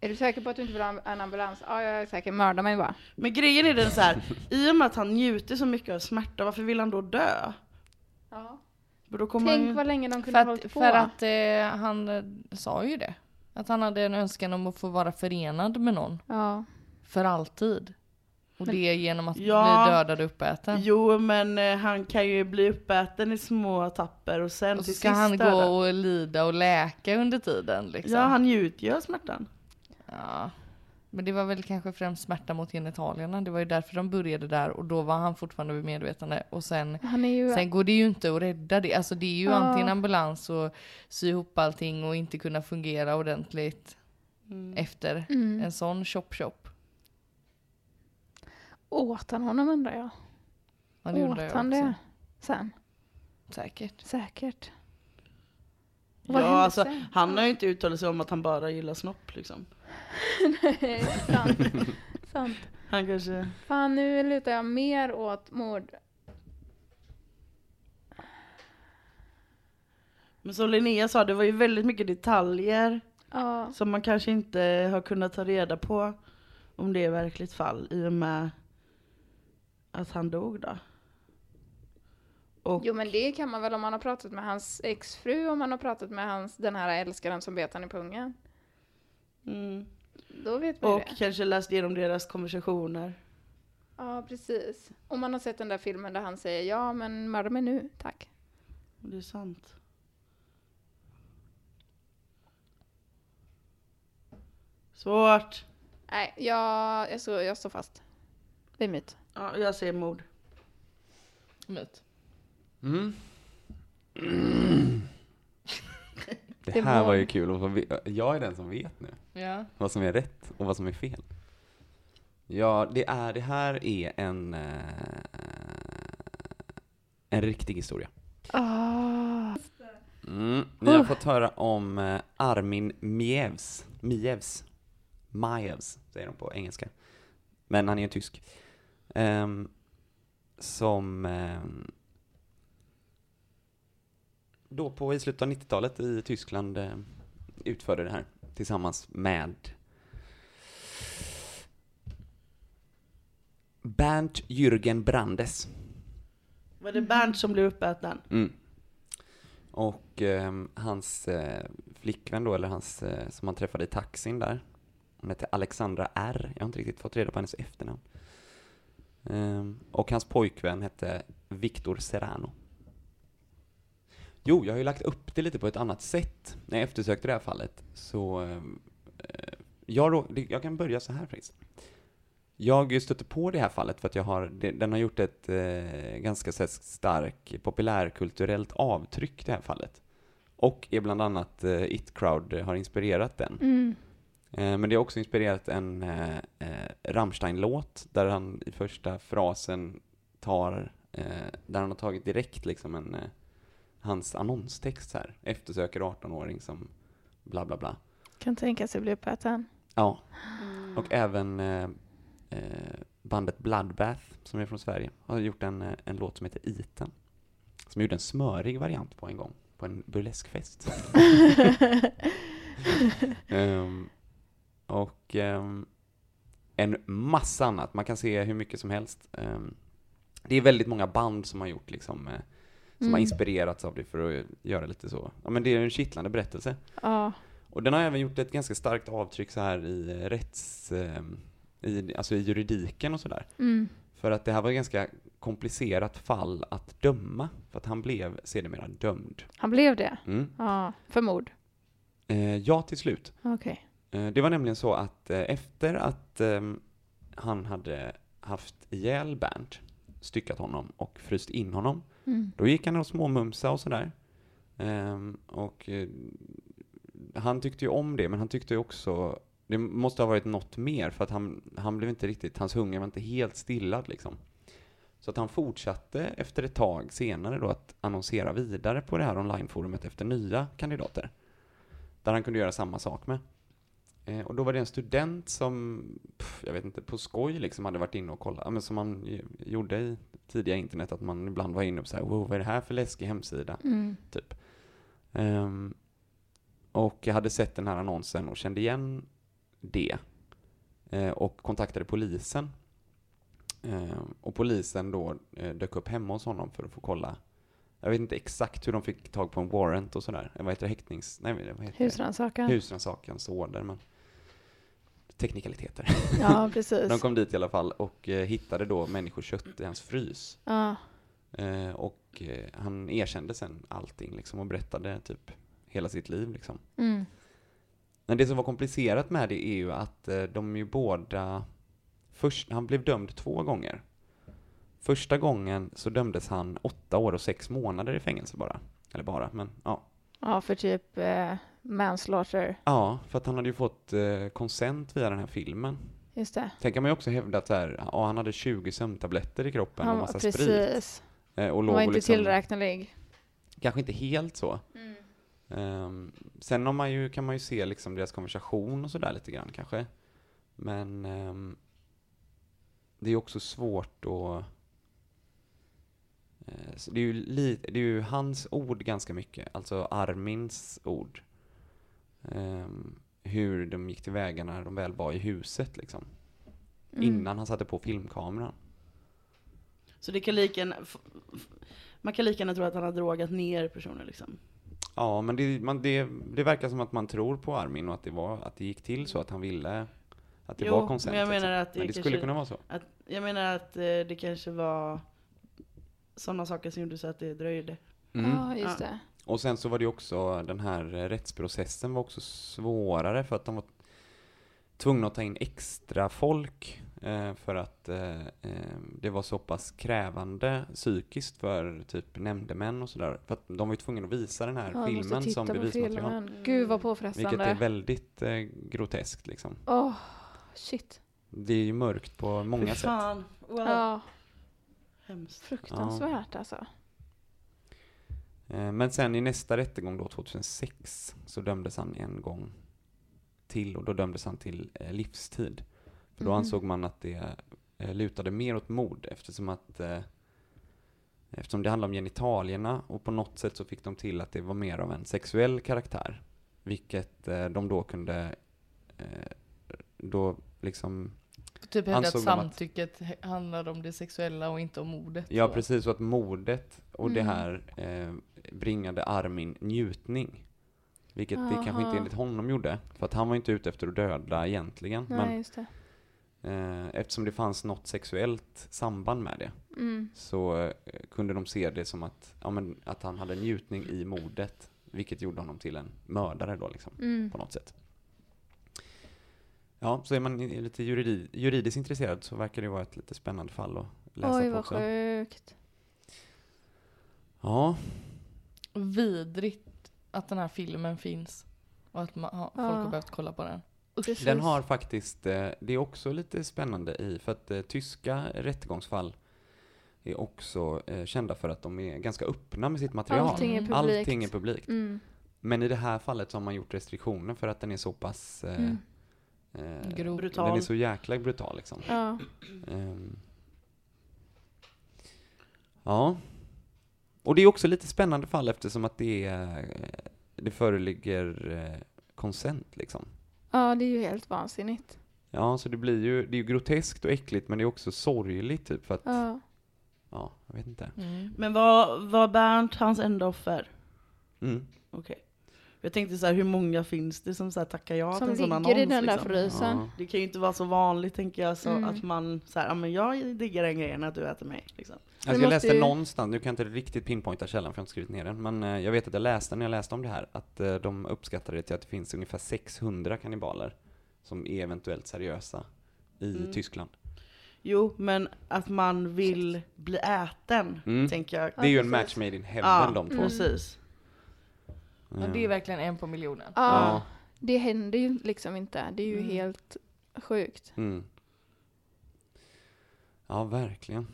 A: Är du säker på att du inte vill ha en- en ambulans? Ja, jag är säker. Mörda mig bara.
D: men grejen är den så här. i och med att han njuter så mycket av smärta, varför vill han då dö?
A: Ja.
D: För Då kommer
A: Tänk
D: han...
A: vad länge de kunde
C: För
A: ha
C: att,
A: hållit på.
C: för att eh, han eh, sa ju det. Att han hade en önskan om att få vara förenad med någon.
A: Ja.
C: För alltid. Och det genom att
D: Ja.
C: bli dödad och uppäten.
D: Jo men eh, han kan ju bli uppäten i små tapper och sen
C: och så
D: till
C: ska
D: sist
C: han gå
D: döda.
C: och lida och läka under tiden liksom.
D: Ja han njuter ju av smärtan.
C: Ja. Men det var väl kanske främst smärta mot genitalierna. Det var ju därför de började där och då var han fortfarande vid medvetande. Och sen,
A: Han är ju...
C: sen går det ju inte att rädda det. Alltså det är ju
A: Ja.
C: antingen ambulans och sy ihop allting och inte kunna fungera ordentligt efter
A: Mm.
C: en sån chop chop.
A: Åt han honom undrar jag?
C: Ja, det undrar
A: Åt
C: jag
A: han
C: också.
A: det sen?
C: Säkert.
A: Säkert. Och vad
D: Ja,
A: hände
D: alltså,
A: sen?
D: han har ju inte uttalat sig om att han bara gillar snopp liksom.
A: Nej, sant. sant.
D: Han kanske...
A: Fan, nu lutar jag mer åt mord.
D: Men som Linnea sa, det var ju väldigt mycket detaljer
A: Ja.
D: som man kanske inte har kunnat ta reda på om det är verkligt fall i och med att han dog då. Och
A: Jo, men det kan man väl om man har pratat med hans exfru, om man har pratat med hans, den här älskaren som bet han i pungen.
D: Mm.
A: Då vet man ju
D: Och
A: det.
D: kanske läst igenom deras konversationer.
A: Ja, precis. Om man har sett den där filmen där han säger ja, men mörda mig nu, tack.
D: Det är sant. Svårt.
A: Nej, jag, jag, så, jag står fast. Det är mitt.
D: Ja, jag säger mord.
C: Myt.
B: Mm.
A: Det
B: Det här var
A: var-
B: ju kul. att få ve- Jag är den som vet nu
C: Ja.
B: vad som är rätt och vad som är fel. Ja, det, är, det här är en, eh, en riktig historia. Mm. Ni har fått höra om eh, Armin Mievs. Mievs. Mievs, säger de på engelska. Men han är ju tysk. Ehm, som ehm, då på i slutet av 90-talet i Tyskland eh, utförde det här tillsammans med Bernt Jürgen Brandes.
D: Var
A: Mm-hmm.
D: det Bernt som blev uppäten?
B: Mm. Och ehm, hans eh, flickvän då, eller hans, eh, som han träffade i taxin där, hon hette Alexandra R. Jag har inte riktigt fått reda på hennes efternamn. Ehm, och hans pojkvän hette Victor Serrano. Jo, jag har ju lagt upp det lite på ett annat sätt när jag eftersökte det här fallet. Så ehm, eh, jag, rå- det- jag kan börja så här faktiskt. Jag stötte på det här fallet för att jag har, det- den har gjort ett eh, ganska så här stark populärkulturellt avtryck det här fallet. Och är bland annat eh, It Crowd har inspirerat den.
A: Mm,
B: Eh, men det har också inspirerat en eh, eh, Rammstein-låt där han i första frasen tar, eh, där han har tagit direkt liksom en, eh, hans annonstext så här. Eftersöker 18-åring som bla bla bla.
A: Kan tänka sig bli uppäten.
B: Ja. Och även eh, eh, bandet Bloodbath, som är från Sverige, har gjort en, eh, en låt som heter Iten. Som gjorde en smörig variant på en gång, på en burleskfest. Ehm, och ehm, en massa annat. Man kan se hur mycket som helst. Ehm, det är väldigt många band som har gjort liksom, eh, som har
A: Mm.
B: inspirerats av det för att göra lite så. Ja, men det är ju en kittlande berättelse.
A: Ja.
B: Och den har även gjort ett ganska starkt avtryck så här i eh, rätts... eh, I, alltså i juridiken och sådär.
A: Mm.
B: För att det här var ett ganska komplicerat fall att döma. För att han blev sedermera dömd.
A: Han blev det?
B: Mm.
A: Ja. För mord?
B: Eh, ja, till slut.
A: Okej.
B: Eh, det var nämligen så att eh, efter att ehm, han hade haft ihjäl Bernt, styckat honom och fryst in honom,
A: Mm.
B: Då gick han och småmumsa och sådär. Ehm, och eh, han tyckte ju om det, men han tyckte ju också... Det måste ha varit något mer, för att han, han blev inte riktigt... Hans hunger var inte helt stillad liksom. Så att han fortsatte efter ett tag senare då att annonsera vidare på det här onlineforumet efter nya kandidater. Där han kunde göra samma sak med. Eh, och då var det en student som, pff, jag vet inte, på skoj liksom hade varit inne och kollat, ja, men som man ju- gjorde i tidiga internet, att man ibland var inne och så här, wow, vad är det här för läskig hemsida?
A: Mm.
B: Typ. Ehm, och jag hade sett den här annonsen och kände igen det. Eh, och kontaktade polisen. Ehm, och polisen då eh, dök upp hemma hos honom för att få kolla. Jag vet inte exakt hur de fick tag på en warrant och sådär. Eh, Vad heter det? Häktnings... Nej, vad heter det?
A: Husrannsakan.
B: Husrannsakansorder, men teknikaliteter.
A: Ja, precis.
B: De kom dit i alla fall och eh, hittade då människokött i hans frys.
A: Ja.
B: Eh, och eh, han erkände sen allting liksom och berättade typ hela sitt liv liksom.
A: Mm.
B: Men det som var komplicerat med det är ju att eh, de ju båda... Först, han blev dömd två gånger. Första gången så dömdes han åtta år och sex månader i fängelse bara. Eller bara, men ja.
A: ja, för typ eh, manslaughter.
B: Ja, för att han hade ju fått eh, konsent via den här filmen.
A: Just det.
B: Sen kan man ju också hävda att så här, ja, han hade 20 sömntabletter i kroppen och massa sprit.
A: precis.
B: Eh, Och
A: Han
B: låg
A: var
B: och
A: inte
B: liksom,
A: tillräknelig.
B: Kanske inte helt så. Ehm, sen har man ju, kan man ju se liksom deras konversation och sådär lite grann kanske. Men ehm, det är ju också svårt att... eh, så det, är ju li, det är ju hans ord ganska mycket, alltså Armins ord. Ehm, hur de gick tillväga när de väl var i huset liksom.
D: Mm.
B: Innan han satte på filmkameran.
D: Så det kan lika gärna, f- f- man kan lika gärna tro att han har drogat ner personer liksom.
B: Ja, men det, man, det, det verkar som att man tror på Armin och att det, var, att det gick till så att han ville att det
D: Jo,
B: var konsent.
D: men jag
B: liksom.
D: menar att det,
B: men det
D: kanske,
B: skulle kunna vara så.
D: Att, jag menar att eh, det kanske var sådana saker som gjorde så att det dröjde.
B: Mm.
A: Ja, just det.
B: Och sen så var det ju också den här eh, rättsprocessen var också svårare för att de var tvungna att ta in extra folk eh, för att eh, eh, det var så pass krävande psykiskt för typ nämndemän och sådär. För att de var ju tvungna att visa den här
A: Ja, jag måste
B: filmen som
A: titta på
B: bevismaterial.
A: filmen. Gud vad påfrestande.
B: Vilket är väldigt eh, groteskt liksom.
A: Åh, shit.
B: Det är ju mörkt på många
D: Fy
B: sätt.
D: fan. Wow.
A: Ja,
D: Hemskt.
A: fruktansvärt alltså.
B: Eh, Men sen i nästa rättegång då, 2006, så dömdes han en gång till och då dömdes han till eh, livstid. För då
F: Mhm.
B: ansåg man att det eh, lutade mer åt mord eftersom att eh, eftersom det handlade om genitalierna och på något sätt så fick de till att det var mer av en sexuell karaktär. Vilket eh, de då kunde eh, då liksom
C: Typ hävda att
B: ansåg de att-
C: samtycket he- handlar om det sexuella och inte om mordet.
B: Ja,
C: så.
B: precis. Och att mordet och det
C: Mm.
B: här eh, bringade Armin njutning. Vilket det kanske
A: Aha.
B: inte enligt honom gjorde. För att han var ju inte ute efter att döda egentligen.
A: Nej, just det.
B: men eh, eftersom det fanns något sexuellt samband med det.
A: Mm.
B: Så eh, kunde de se det som att, ja, men, att han hade njutning i mordet. Vilket gjorde honom till en mördare då liksom.
A: Mm.
B: På något sätt. Ja, så är man i- lite juridi, juridiskt intresserad så verkar det vara ett lite spännande fall att läsa
A: Oj,
B: på
A: vad
B: också.
A: sjukt.
B: Ja,
C: Vidrigt att den här filmen finns. Och att man, ha, folk
A: Ja.
C: har behövt kolla på den. Usch.
B: Den har faktiskt, eh, det är också lite spännande i, för att eh, tyska rättegångsfall är också eh, kända för att de är ganska öppna med sitt material.
A: Allting är publikt.
B: Allting är publikt.
A: Mm.
B: Men i det här fallet så har man gjort restriktioner för att den är så pass... Eh,
A: Mm.
B: eh,
C: Grov.
B: Den är
D: Brutal.
B: så jäkla brutal liksom.
A: Ja.
B: Ehm. Ja. Och det är också lite spännande fall eftersom att det, är, eh, det föreligger eh, konsent liksom.
A: ja, det är ju helt vansinnigt.
B: Ja, så det blir ju, det är ju groteskt och äckligt men det är också sorgligt typ för att, ja,
A: Ja.
B: jag vet inte.
C: Mm.
D: Men var, var Bernt hans enda offer?
B: Mm.
D: Okej. Jag tänkte så här, hur många finns det som så här, tackar ja
A: Som
D: till en sån annons?
A: ligger i den där
D: liksom?
A: frysen.
B: Ja. Alltså,
D: Det kan ju inte vara så vanligt tänker jag, så
A: Mm.
D: att man så här, ja men jag diggar den grejen att du äter mig. Liksom.
B: Alltså, jag läste
A: måste ju-
B: någonstans, nu kan jag inte riktigt pinpointa källan för jag har inte skrivit ner den, men eh, jag vet att jag läste när jag läste om det här att eh, de uppskattade det till att det finns ungefär 600 kannibaler som är eventuellt seriösa i
D: Mm.
B: Tyskland.
D: Jo, men att man vill bli äten,
B: Mm.
D: tänker jag.
B: Det är ju en match made in heaven
D: Ja, Mm.
B: de två.
D: precis.
C: Ja, det är verkligen en på miljonen.
A: Ja,
B: Ja.
A: det händer ju liksom inte. Det är ju
C: Mm.
A: helt sjukt.
B: Mm. Ja, verkligen.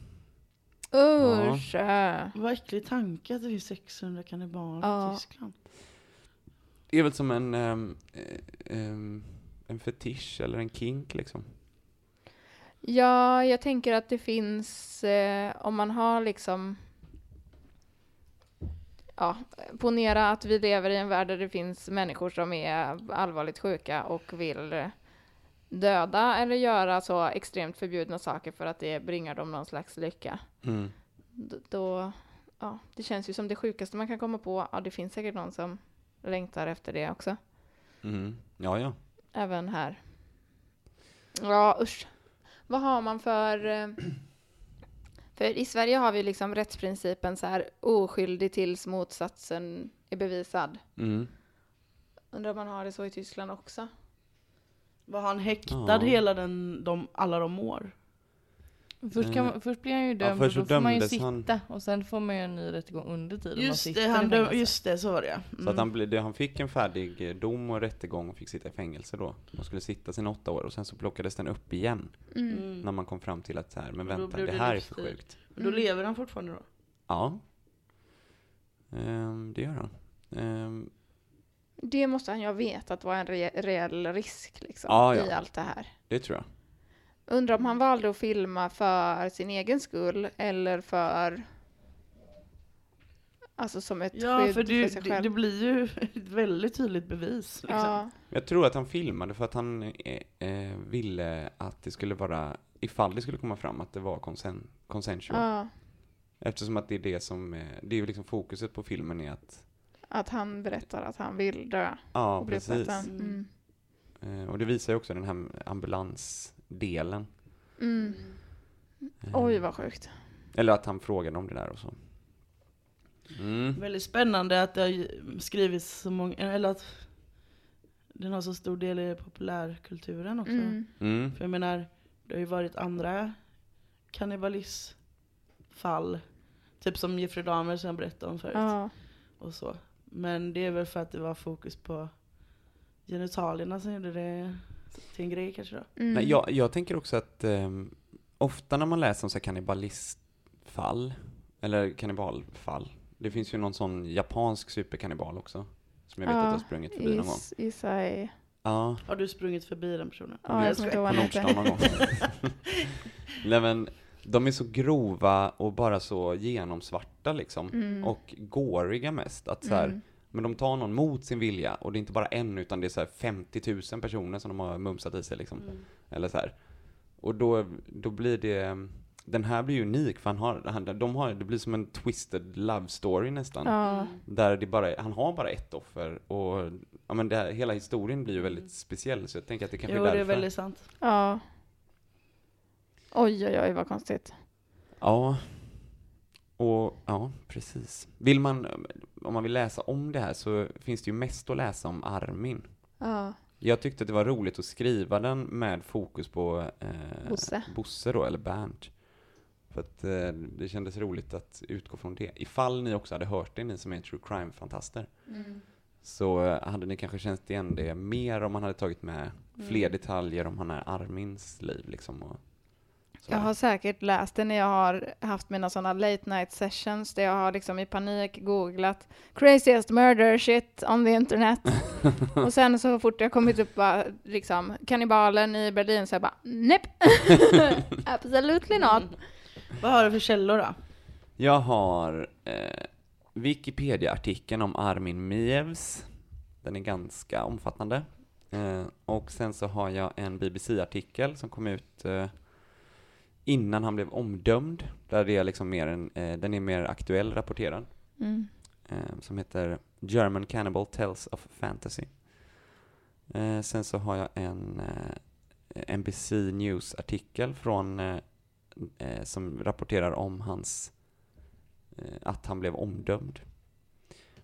A: Usch! äh.
D: Vad äcklig tanke att det finns 600 kannibaler
A: Ja.
D: i Tyskland.
B: Det är väl som en, ehm, eh, ehm, en fetisch eller en kink liksom?
A: Ja, jag tänker att det finns, eh, om man har liksom, ja, ponera att vi lever i en värld där det finns människor som är allvarligt sjuka och vill döda eller göra så extremt förbjudna saker för att det bringar dem någon slags lycka.
B: Mm.
A: D- Då, ja, det känns ju som det sjukaste man kan komma på. Ja, det finns säkert någon som längtar efter det också.
B: Mm. Ja, ja.
A: Även här. Ja, usch. Vad har man för... eh, För i Sverige har vi liksom rättsprincipen så här oskyldig tills motsatsen är bevisad.
B: Mm.
A: Undrar om man har det så i Tyskland också?
D: Var han häktad
B: Ja.
D: hela den, de, alla de år?
C: Först, kan
B: Eh,
C: man, först blir han ju
B: ja,
C: dömd
B: först
C: och
B: så
C: då får man ju
B: dömdes
C: sitta
B: han-
C: och sen får man ju en ny rättegång under tiden man
D: Just
C: sitter
D: det,
C: i
D: han döm-
C: fängelse.
D: just det, så var det ja.
B: Så att
D: Mm.
B: han, blev- det- han fick en färdig eh, dom och rättegång och fick sitta i fängelse då. De skulle sitta sina åtta år och sen så plockades den upp igen
D: Mm.
B: när man kom fram till att så här, men
D: Och då
B: vänta,
D: blev
B: det
D: det
B: här är för
D: livstid.
B: sjukt.
D: Men då lever han fortfarande då?
B: Ja. Ehm, det gör han. Ehm,
A: Det måste han ju ha vetat var en re- reell risk liksom,
B: Ja, ja.
A: i allt det här.
B: det tror jag.
A: Undrar om han valde att filma för sin egen skull eller för... Alltså som ett
D: Ja,
A: skydd
D: för
A: för,
D: det,
A: sig
D: det,
A: själv.
D: det blir ju ett väldigt tydligt bevis. Liksom.
A: ja.
B: Jag tror att han filmade för att han eh, eh, ville att det skulle vara, ifall det skulle komma fram, att det var consen- consensual.
A: ja,
B: Eftersom att det är det som, eh, det är ju liksom fokuset på filmen är att,
A: att han berättar att han vill dö.
B: ja
A: och bli
B: precis.
A: uppäten. Mm.
B: Eh, och det visar ju också den här ambulansdelen.
A: Mm.
B: Eh,
A: Oj, vad sjukt.
B: Eller att han frågade om det där och så. Mm.
D: Väldigt spännande att det har skrivits så många, eller att den har så stor del i populärkulturen också.
A: Mm.
B: Mm.
D: För jag menar, det har ju varit andra kannibalismfall. Typ som Jeffrey Dahmer som jag berättade om förut.
A: Ja.
D: Och så. Men det är väl för att det var fokus på genitalierna som gjorde det till en grej kanske då.
A: Mm.
B: Nej, jag, jag tänker också att ehm, ofta när man läser om så här kannibalistfall, eller kannibalfall, det finns ju någon sån japansk superkannibal också, som jag vet
A: Ja,
B: att jag har sprungit förbi någon gång.
A: Is- Isai.
B: Ja,
D: Har du sprungit förbi den personen?
A: Ja, jag kommer inte ihåg
B: på
A: vad han
B: Nordstan någon
A: heter.
B: gång. Nej men, de är så grova och bara så genomsvarta liksom,
A: Mm.
B: och gåriga mest. Att så här,
A: Mm.
B: Men de tar någon mot sin vilja, och det är inte bara en, utan det är så här 50 000 personer som de har mumsat i sig liksom.
D: Mm.
B: Eller så här. Och då, då blir det, den här blir ju unik för han har, han, de har, det blir som en twisted love story nästan.
A: Ja.
B: Där det bara, är- han har bara ett offer och ja, men det här, hela historien blir ju väldigt speciell så jag tänker att det kanske
D: Jo,
B: är
D: det
B: därför.
D: är väldigt sant.
A: ja. Oj, oj, oj, vad konstigt.
B: Ja. Och, ja, precis. Vill man, om man vill läsa om det här så finns det ju mest att läsa om Armin.
A: Ja.
B: Jag tyckte att det var roligt att skriva den med fokus på eh,
A: Bosse.
B: då, eller Bernt. För att eh, det kändes roligt att utgå från det. Ifall ni också hade hört det, ni som är true crime-fantaster, så eh, hade ni kanske känt igen det mer om man hade tagit med fler detaljer om han är Armins liv liksom. Och sådär.
A: Jag har säkert läst det när jag har haft mina sådana late night sessions där jag har liksom i panik googlat craziest murder shit on the internet. och sen så fort jag kommit upp bara, liksom kannibalen i Berlin så jag bara nepp, absolutely not.
D: Vad har du för källor då?
B: Jag har eh, Wikipedia-artikeln om Armin Mievs. Den är ganska omfattande. Eh, och sen så har jag en BBC-artikel som kom ut eh, innan han blev omdömd. Där det är liksom mer en, eh, den är mer aktuell rapporterad.
A: Mm.
B: Eh, som heter German Cannibal Tales of Fantasy. Eh, sen så har jag en eh, NBC News-artikel från eh, eh, som rapporterar om hans eh, att han blev omdömd.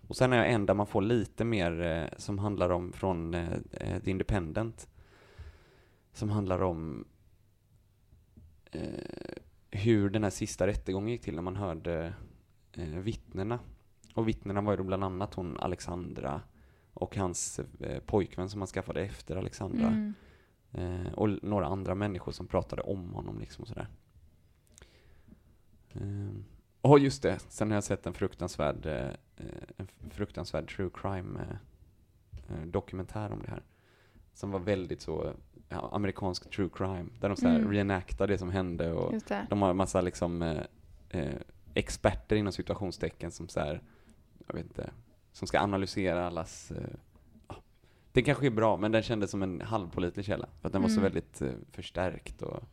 B: Och sen har jag en där man får lite mer eh, som handlar om från eh, eh, The Independent. Som handlar om eh, hur den här sista rättegången gick till när man hörde eh, vittnena. Och vittnena var ju då bland annat hon Alexandra och hans eh, pojkvän som han skaffade efter Alexandra.
A: Mm.
B: Eh, och l- några andra människor som pratade om honom liksom och sådär. Ehm, Ja, just det. Sen har jag sett en fruktansvärd, eh, eh, en fruktansvärd true crime eh, eh, dokumentär om det här. Som var väldigt så ja, amerikansk true crime. Där de så här
A: Mm.
B: reenactar det som hände och
A: Just det.
B: de har en massa liksom eh, eh, experter inom situationstecken som så här, jag vet inte, som ska analysera allas eh, ja. det kanske är bra, men den kändes som en halvpålitlig källa. För att den var så
A: Mm.
B: väldigt eh, förstärkt och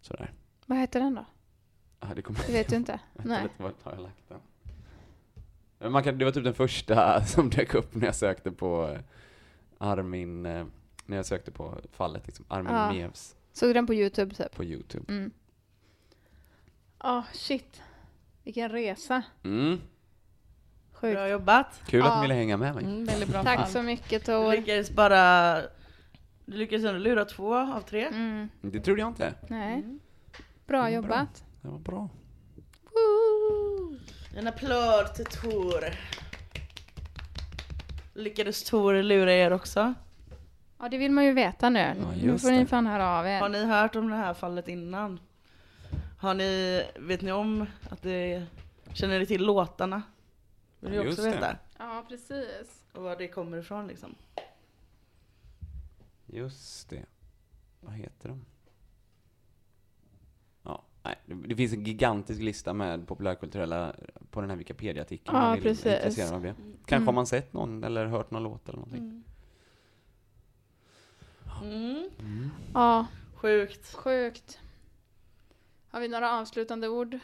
B: sådär.
A: Vad heter den då?
B: Ah, det kommer-
A: Det vet du inte?
B: Vänta
A: Nej.
B: lite, vart har jag lagt den? Men Man kan, det var typ den första som dök upp när jag sökte på eh, Armin, eh, när jag sökte på fallet liksom, Armin
A: Ja.
B: Mevs
A: Såg du den på Youtube typ?
B: på Youtube.
A: Mm. Ja, Ah, shit. Vilken resa.
B: Mm.
A: Sjukt.
D: Bra jobbat.
B: Kul att
A: Ja. Mm.
B: ni ville hänga med mig.
J: väldigt bra
A: Tack
J: fall.
A: så mycket
D: Du
A: Tor.
D: lyckades bara... Du lyckades ändå lura två av tre.
A: Mm.
B: Det trodde jag inte.
A: Nej.
D: Mm.
A: Bra jobbat.
B: Det var bra.
A: Woo!
D: En applåd till Tor. Lyckades Tor lura er också?
A: Ja, det vill man ju veta nu. Mm, nu
B: just
A: får ni
B: det.
A: fan höra av er.
D: Mm. Har ni hört om det här fallet innan? Har ni, vet ni om att det, känner ni till låtarna? Vill ni
B: Ja,
D: också
B: just det.
D: veta?
A: Ja, precis.
D: Och var det kommer ifrån liksom?
B: Just det. Vad heter de? Ja, nej, det- det finns en gigantisk lista med populärkulturella på den här Wikipedia-artikeln.
A: Ja,
B: om ni är
A: precis. Mm.
B: intresserade av det. Kanske har man sett någon eller hört någon låt eller någonting.
D: Mm.
A: Ja,
D: Sjukt.
A: sjukt. Har vi några avslutande ord?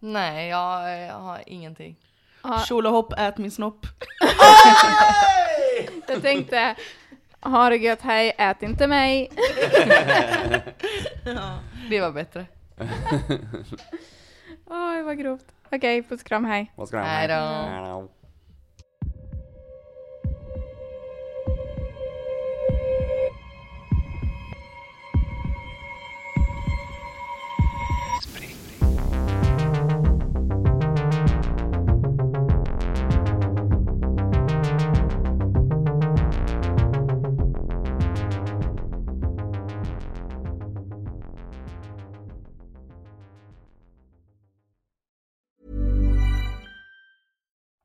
J: Nej, jag, jag har ingenting.
A: Ja,
D: Tjolahopp, ät min snopp.
A: jag tänkte, ha det gött, hej, ät inte mig.
J: Det var bättre.
A: Oj, vad grovt. Okej, puss kram, hej.
B: Vad ska de
J: Hej då.
B: Hej då.